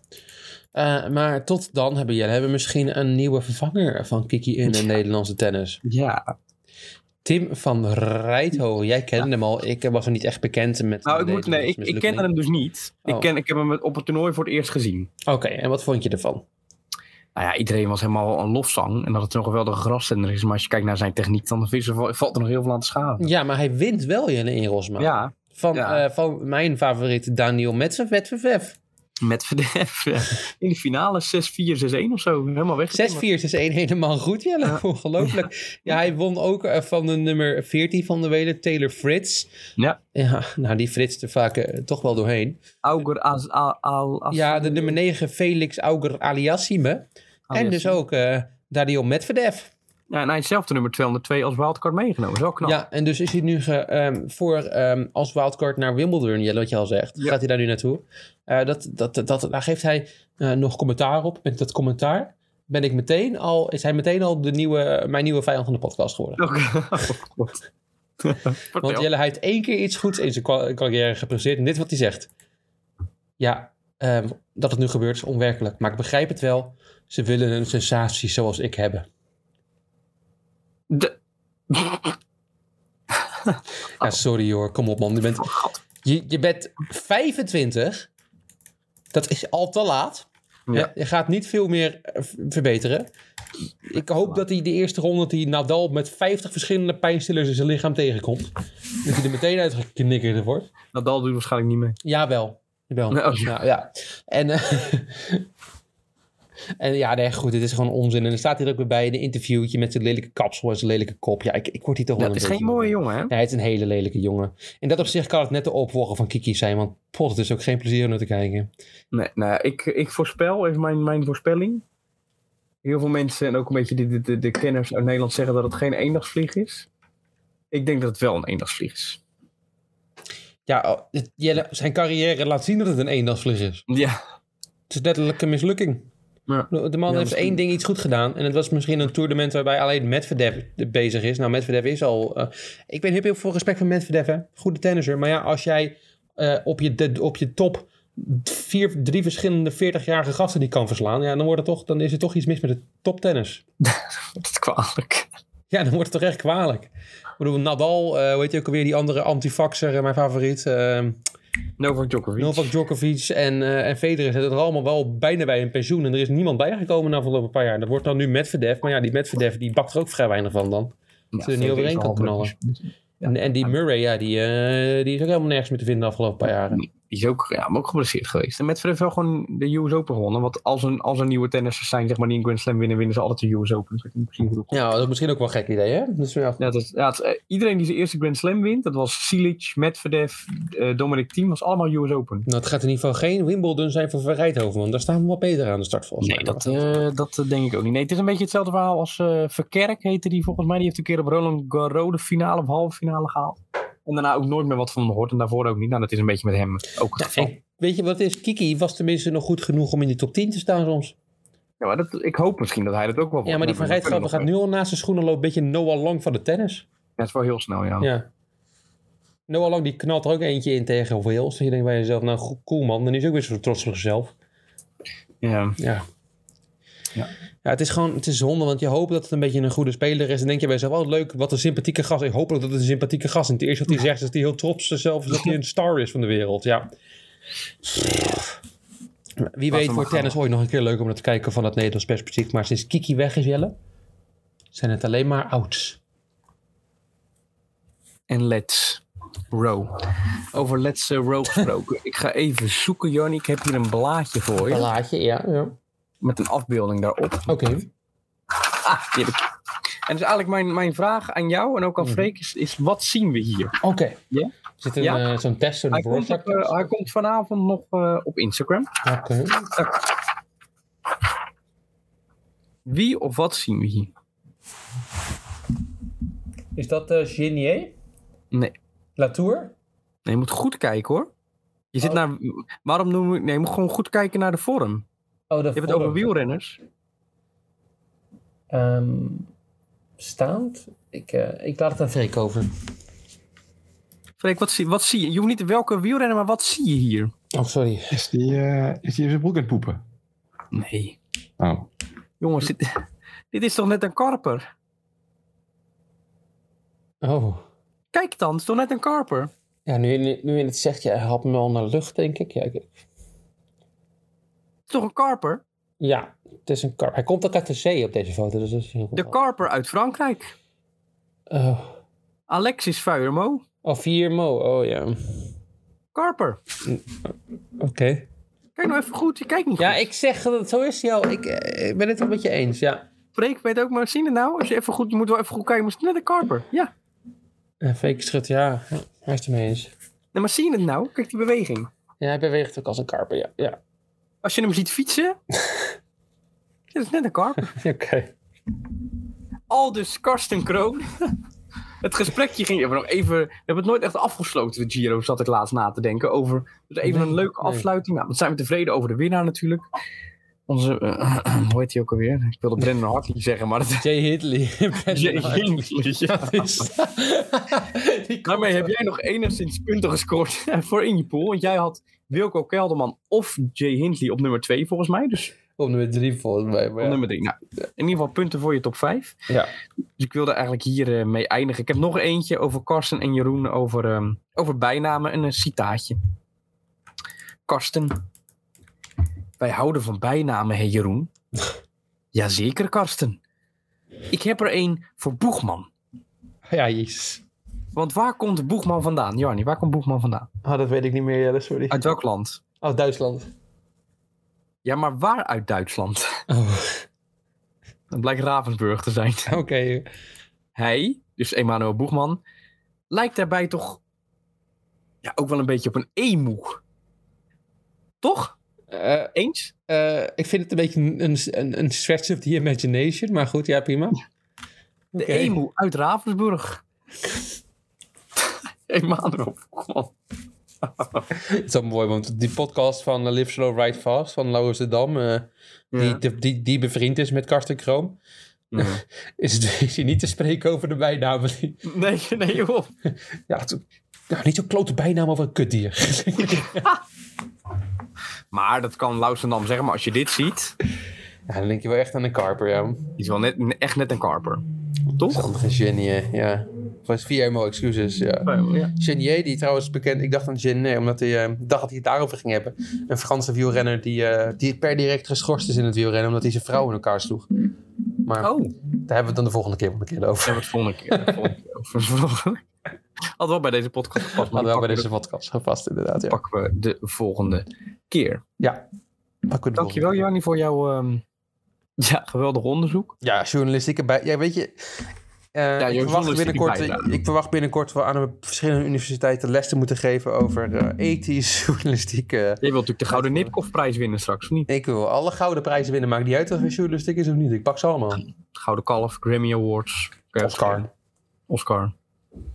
S1: Eh, maar tot dan hebben jullie hebben we misschien een nieuwe vervanger van Kiki in de Nederlandse tennis.
S2: Ja.
S1: Tim van Rijthoven, jij kende hem al. Ik was er niet echt bekend met
S2: Nou, ik,
S1: de
S2: moet, nee, ik, ik
S1: mislukkingen.
S2: kende hem dus niet.
S1: Oh.
S2: Ik, ken, ik heb hem op het toernooi voor het eerst gezien.
S1: Oké, en wat vond je ervan?
S2: Nou ja, iedereen was helemaal een lofzang. En dat het nog een geweldige graszender is. Maar als je kijkt naar zijn techniek, dan is er- valt er nog heel veel aan te schaven.
S1: Ja, maar hij wint wel Jelle in Rosma.
S2: Ja,
S1: Van,
S2: ja.
S1: eh, van mijn favoriet Daniel Medvedev. Medvedev. 6-4, 6-1
S2: met Verdef. In de finale 6-4, 6-1 of zo. Helemaal weg.
S1: is één helemaal goed Jelle. Ongelooflijk. Ja. hij won ook eh, van de nummer 14 van de wereld, Taylor Fritz.
S2: Ja.
S1: Ja, nou die Fritz er vaak eh, toch wel doorheen.
S2: Auger als, al, al, als-
S1: Ja, de nummer 9, Felix Auger Aliassime.
S2: alias-
S1: En dus ook eh Dario Medvedev.
S2: Ja, en hij is zelf de nummer 202 als wildcard meegenomen. Dat is wel knap.
S1: Ja, en dus is hij nu ge- ehm, voor ehm, als wildcard naar Wimbledon, Jelle, wat je al zegt.
S2: Ja.
S1: Gaat hij daar nu naartoe? Eh, dat, dat, dat, dat- daar geeft hij eh, nog commentaar op. Met dat commentaar ben ik meteen al, is hij meteen al de nieuwe, mijn nieuwe vijand van de podcast geworden.
S2: Oké. Goed. Vertel.
S1: Want Jelle, hij heeft één keer iets goeds in zijn kwa- carrière gepresteerd. En dit is wat hij zegt. Ja, ehm, dat het nu gebeurt is onwerkelijk. Maar ik begrijp het wel. Ze willen een sensatie zoals ik hebben.
S2: De-
S1: Ja, sorry hoor. Kom op man. Je bent, je, je bent 25. Dat is al te laat.
S2: Ja.
S1: Hè? Je gaat niet veel meer eh, v- verbeteren. Ik hoop dat hij de eerste ronde dat hij Nadal met 50 verschillende pijnstillers in zijn lichaam tegenkomt. Dat hij er meteen uitgeknikkerd wordt.
S2: Nadal doet waarschijnlijk niet mee.
S1: Jawel. Jawel.
S2: Nee, oh, ja.
S1: Nou, ja. En, eh, en ja, nee, goed. Dit is gewoon onzin. En dan staat hier ook weer bij in een interviewtje met zijn lelijke kapsel en zijn lelijke kop. Ja, ik, ik word hier toch wel
S2: Dat
S1: een
S2: is
S1: beetje
S2: geen mooie
S1: moe
S2: jongen, hè?
S1: Nee, hij is een hele lelijke jongen. In dat opzicht kan het net de opvolger van Kiki zijn. Want pot, het is ook geen plezier om naar te kijken.
S2: Nee, nou, ja, ik, ik voorspel, even mijn, mijn voorspelling. Heel veel mensen en ook een beetje de, de, de, de kenners uit Nederland zeggen dat het geen eendagsvlieg is. Ik denk dat het wel een eendagsvlieg is.
S1: Ja, oh, het- Jelle, zijn carrière laat zien dat het een eendagsvlieg is.
S2: Ja.
S1: Het is letterlijk een mislukking.
S2: Ja.
S1: De man heeft
S2: misschien.
S1: één ding iets goed gedaan. En het was misschien een toernooi waarbij alleen Medvedev bezig is. Nou, Medvedev is al... eh, ik ben heb heel veel respect voor Medvedev, hè. Goede tennisser. Maar ja, als jij eh, op, je, de- op je top vier, drie verschillende 40-jarige gasten die kan verslaan... Ja, dan, wordt het toch, dan is er toch iets mis met het toptennis.
S2: Dat is kwalijk.
S1: Ja, dan wordt het toch echt kwalijk. Ik bedoel, Nadal, eh hoe heet je ook alweer, die andere antifaxer, eh, mijn favoriet. eh,
S2: Novak Djokovic.
S1: Novak Djokovic en, eh, en Federer zitten er allemaal wel bijna bij een pensioen. En er is niemand bijgekomen na afgelopen paar jaar. Dat wordt dan nu Medvedev. Maar ja, die Medvedev, die bakt er ook vrij weinig van dan.
S2: Ja,
S1: er niet overheen kan
S2: is wel
S1: knallen.
S2: Ja.
S1: En, en die Murray, ja, die, eh, die is ook helemaal nergens meer te vinden de afgelopen paar jaren.
S2: Die is ook, ja, maar ook geblesseerd geweest. En met verder wel gewoon de US Open gewonnen. Want als een, als er nieuwe tennissers zijn, zeg maar, die een Grand Slam winnen, winnen ze altijd de US Open. Dus ik denk misschien goed op.
S1: Ja, dat is misschien ook wel een gek idee, hè? Dus, ja,
S2: Ja, het is- ja, het is, eh, iedereen die zijn eerste Grand Slam wint, dat was Silic, Medvedev, eh, Dominic Thiem, was allemaal US Open.
S1: Nou, het gaat in ieder geval geen Wimbledon zijn voor Van Rijthoven. Want daar staan we wel beter aan de start volgens
S2: Nee,
S1: mij.
S2: dat, eh, dat eh, denk ik ook niet. Nee, het is een beetje hetzelfde verhaal als eh, Verkerk heette die volgens mij. Die heeft een keer op Roland Garros de finale of halve finale gehaald. En daarna ook nooit meer wat van hem gehoord. En daarvoor ook niet. Nou, dat is een beetje met hem ook het geval.
S1: En weet je wat het is? Kiki was tenminste nog goed genoeg om in die top 10 te staan soms.
S2: Ja, maar dat, ik hoop misschien dat hij dat ook wel wordt.
S1: Ja, maar die Van
S2: Dat- dat
S1: Rijthoven
S2: kunnen
S1: gaat
S2: we
S1: nu
S2: nog
S1: al naast zijn schoenen lopen. Beetje Noah Lang van de tennis.
S2: wel. Dat is wel heel snel, ja.
S1: Ja. Noah Lang die knalt er ook eentje in tegen Wales. En je denkt bij jezelf, nou go- cool man. Dan is hij ook weer zo trots op zichzelf.
S2: Ja.
S1: Ja.
S2: Ja.
S1: Ja, het is gewoon het is zonde, want je hoopt dat het een beetje een goede speler is. En denk je bij jezelf, oh leuk, wat een sympathieke gast. Ik hoop ook dat het een sympathieke gast is. En het eerste wat hij zegt is dat hij heel trots is zelf is dat hij een star is van de wereld. Ja. Wie weet
S2: hem
S1: wordt
S2: maar
S1: tennis ooit nog een keer leuk om naar te kijken van dat Nederlands perspectief. Maar sinds Kiki weg is, Jelle, zijn het alleen maar ouds.
S2: En let's row. Over let's eh, row gesproken. ik ga even zoeken, Johnny. Ik heb hier een blaadje voor je.
S1: Laatje, ja. ja.
S2: Met een afbeelding daarop.
S1: Oké.
S2: Ah, die heb ik. En dus eigenlijk mijn, mijn vraag aan jou en ook aan Freek is, is wat zien we hier?
S1: Oké.
S2: Ja?
S1: Zit een,
S2: Ja.
S1: eh, zo'n test, zo'n
S2: Hij komt,
S1: broadcast
S2: op, eh, hij komt vanavond nog eh, op Instagram.
S1: Oké.
S2: Wie of wat zien we hier?
S1: Is dat eh Genier?
S2: Nee.
S1: Latour?
S2: Nee, je moet goed kijken hoor. Je zit
S1: Oh.
S2: naar. Waarom noem ik. Nee, je moet gewoon goed kijken naar de vorm.
S1: Oh, dat
S2: Je hebt het over wielrenners.
S1: staand? Ehm, Ik, eh, ik laat het aan Freek over.
S2: Freek, wat zie, wat zie je? Je hoeft niet welke wielrenner, maar wat zie je hier?
S1: Oh, sorry.
S7: Is die, eh, is die in zijn broek aan het poepen?
S2: Nee.
S7: Oh.
S2: Jongens, dit, dit is toch net een karper?
S1: Oh.
S2: Kijk dan, het is toch net een karper?
S1: Ja, nu, nu, nu in het zegt, je haalt me al naar lucht, denk ik. Ja, ik-
S2: Het is toch een karper?
S1: ja het is een kar. Hij komt ook uit de zee op deze foto, dus dat is heel goed.
S2: De karper uit Frankrijk.
S1: Oh,
S2: Alexis Vuillermo.
S1: oh Viermo. Oh, ja. Oké.
S2: Karper. Kijk nou even goed, je kijkt niet
S1: Ja,
S2: goed.
S1: ik zeg dat het zo is, Jo. Ik, eh, ik ben het een beetje eens, ja.
S2: Freek weet ook, maar zien het nou? Als je, even goed, je moet wel even goed kijken, maar het is net een karper. Ja.
S1: En Freek schudt, ja. Hij is het ermee eens.
S2: Nee, maar zie je het nou? Kijk die beweging.
S1: Ja, hij beweegt ook als een karper, ja. ja.
S2: Als je hem ziet fietsen... dit is net een karper.
S1: Oké.
S2: Aldus Karsten Kroon. Het gesprekje ging even nog even. We hebben het nooit echt afgesloten, de Giro, zat ik laatst na te denken. Over dus even een leuke
S1: nee.
S2: afsluiting. Nou, wat zijn we tevreden over de winnaar natuurlijk. Onze, eh, hoe heet hij ook alweer? Ik wilde Brendan Hartley zeggen, maar dat
S1: Jay Hitley.
S2: Jay Hindley, ja.
S1: Die komt-
S2: Daarmee heb jij nog enigszins punten gescoord eh, voor in je pool. Want jij had Wilco Kelderman of Jay Hindley op nummer 2 volgens mij. Dus
S1: Op nummer drie volgens mij. Maar
S2: Op
S1: ja.
S2: nummer drie. Nou, in ieder geval punten voor je top 5.
S1: Ja.
S2: Dus ik wilde eigenlijk hier eh, mee eindigen. Ik heb nog eentje over Karsten en Jeroen over, ehm, over bijnamen en een eh, citaatje. Karsten. Wij houden van bijnamen, hè Jeroen? Jazeker, Karsten. Ik heb er een voor Boegman.
S1: Ja, jezus.
S2: Want waar komt Boegman vandaan? Jarni, waar komt Boegman vandaan?
S1: Oh, dat weet ik niet meer, Jelle, sorry.
S2: Uit welk land?
S1: Oh, Duitsland.
S2: Ja, maar waar uit Duitsland?
S1: Oh,
S2: Dat blijkt Ravensburg te zijn.
S1: oké.
S2: hij, dus Emmanuel Boegman, lijkt daarbij toch ja, ook wel een beetje op een emu. Toch?
S1: Eh,
S2: Eens?
S1: eh, ik vind het een beetje een, een, een stretch of the imagination, maar goed, ja, prima.
S2: De
S1: Oké.
S2: emu uit Ravensburg. Emmanuel Boegman.
S1: Het is wel mooi, want die podcast van eh, Live Slow Ride Fast van Laurens de Dam, eh, die, die, die, die bevriend is met Karsten Kroon,
S2: Ja.
S1: is, het- is hij niet te spreken over de bijnamen. die-
S2: Nee, nee, joh.
S1: Ja, het is- nou, niet zo'n klote bijnaam over een kutdier.
S2: Maar dat kan Lausendam zeggen, maar als je dit ziet,
S1: ja, dan denk je wel echt aan een karper, ja.
S2: is wel net, echt net een karper. Toch?
S1: Een genie, hè, ja. Was Viermo, excuses, ja.
S2: Oh. Ja.
S1: Genier, die trouwens bekend... Ik dacht aan Genier, omdat hij eh, dacht dat hij het daarover ging hebben. Een Franse wielrenner die, eh, die per direct geschorst is in het wielrennen... omdat hij zijn vrouw in elkaar sloeg. Maar
S2: Oh,
S1: daar
S2: daar
S1: hebben we het dan de volgende keer, wel een keer over.
S2: hebben we het volgende keer. daar volgende keer over. Had wel bij deze podcast gepast,
S1: Hadden
S2: maar
S1: we ook
S2: die
S1: bij deze podcast gepast, inderdaad, ja.
S2: pakken we de volgende keer.
S1: Pakken we de
S2: Dankjewel,
S1: volgende
S2: Jannie, voor jouw ehm, ja, geweldig onderzoek.
S1: keer. Ja, journalistieke bij... Ja, weet je... eh, ik,
S2: jouw
S1: verwacht
S2: journalistieke
S1: binnenkort,
S2: bijdrage.
S1: ik verwacht binnenkort wel aan de verschillende universiteiten les te moeten geven over eh, ethisch journalistiek. eh,
S2: Je wilt natuurlijk de Gouden Nipkoff-prijs winnen straks, of niet?
S1: Ik wil alle gouden prijzen winnen. Maakt niet uit of het journalistiek is of niet. Ik pak ze allemaal.
S2: Gouden Kalf, Grammy Awards. eh,
S1: Oscar.
S2: Oscar.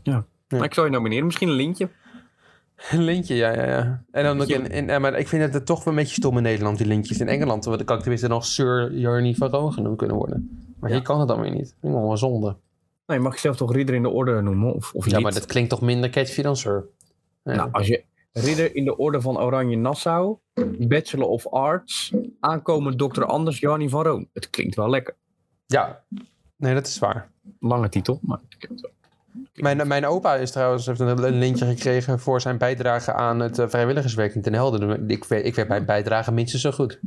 S2: Ja.
S1: Ja.
S2: Maar ik zou je nomineren. Misschien een lintje.
S1: Een lintje, ja, ja, ja. En dan ook in, in, eh, maar ik vind het er toch wel een beetje stom in Nederland, die lintjes. In Engeland, want dan kan ik tenminste nog Sir Jarny van Roon genoemd kunnen worden. Maar
S2: Ja.
S1: hier kan het dan weer niet. Dat vind ik wel een zonde.
S2: Nee, mag je zelf toch Ridder in de Orde noemen? Of, of
S1: Ja,
S2: niet?
S1: maar dat klinkt toch minder catchy dan Sir? Ja.
S2: Nou, als je Ridder in de Orde van Oranje Nassau, Bachelor of Arts, aankomend dokter Anders Jani van Roon. Het klinkt wel lekker.
S1: Ja, nee, dat is waar.
S2: Lange titel, maar ik heb het wel.
S1: Mijn, mijn opa is trouwens, heeft een, een lintje gekregen voor zijn bijdrage aan het eh, vrijwilligerswerk in Ten Helden. Ik, weet- ik weet mijn bijdrage minstens zo goed.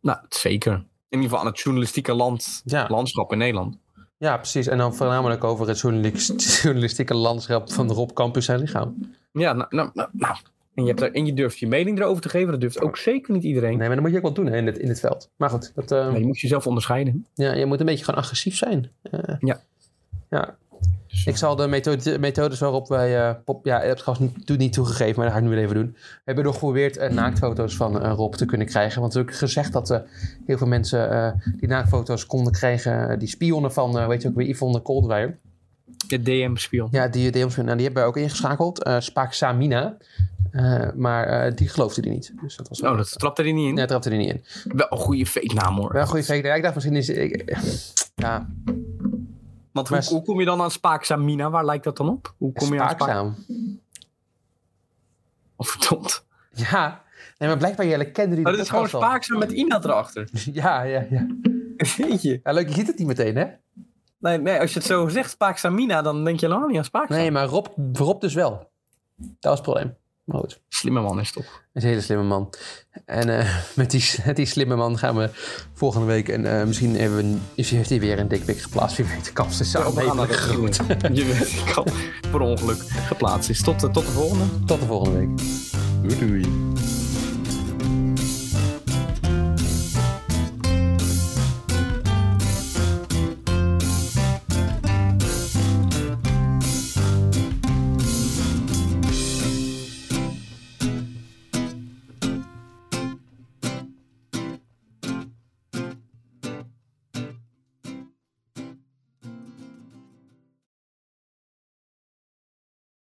S2: Nou, zeker. In ieder geval aan het journalistieke land,
S1: Ja.
S2: landschap in Nederland.
S1: Ja, precies. En dan voornamelijk over het journalis- journalistieke landschap van Rob Campus en lichaam.
S2: Ja, nou, nou, nou, nou. En, je hebt er, en je durft je mening erover te geven. Dat durft ook zeker niet iedereen.
S1: Nee, maar dat moet je ook wel doen hè, in het, in het veld. Maar goed, dat, eh,
S2: Maar je moet jezelf onderscheiden.
S1: ja, je moet een beetje gewoon agressief zijn. Eh,
S2: Ja.
S1: ja. Ik zal de methode, methodes waarop wij... eh, pop, ja, dat was niet, doe- niet toegegeven, maar dat ga ik nu weer even doen. We hebben nog geprobeerd eh, naaktfoto's van eh, Rob te kunnen krijgen. Want er is ook gezegd dat eh, heel veel mensen eh, die naaktfoto's konden krijgen... eh, die spionnen van, eh, weet je ook weer, Yvonne Kolderweijer.
S2: De DM-spion.
S1: Ja, die deelnemers nou, die hebben we ook ingeschakeld. Eh Spaak Samina. Eh, maar eh, die geloofde die niet. Dus dat was
S2: Oh, dat trapte er niet in.
S1: Nee, trapte die niet in.
S2: Wel een goede fake naam hoor.
S1: Wel een goede fake. Ja, ik dacht misschien is... Ik, ja,
S2: Want
S1: Maar
S2: hoe,
S1: s-
S2: hoe kom je dan aan Spaaksamina? Waar lijkt dat dan op? Hoe kom je aan Spaak...
S1: spaakzaam.
S2: Oh, verdomd.
S1: Ja. Nee, maar blijkbaar Jelle kende die
S2: Maar
S1: de
S2: dat is gewoon
S1: podcast al.
S2: Spaakzaam met Ina erachter.
S1: Ja, ja, ja.
S2: Jeetje.
S1: ja. Leuk, je ziet het niet meteen, hè?
S2: Nee, nee, als je het zo zegt, Spaaksamina, dan denk je helemaal niet aan Spaakzaam.
S1: Nee, maar Rob, Rob dus wel. Dat was het probleem. Maar goed.
S2: Slimme man is toch.
S1: Hij is een hele slimme man. En eh, met, die, met die slimme man gaan we volgende week... En eh, misschien hebben we, een- is- heeft hij weer een dikpik geplaatst. Wie weet, de kans is
S2: Oh, We gaan
S1: samen
S2: naar de groet. Je weet, ik kan per ongeluk geplaatst is. Dus Tot, eh, tot de volgende.
S1: Tot de volgende week.
S7: Doei doei.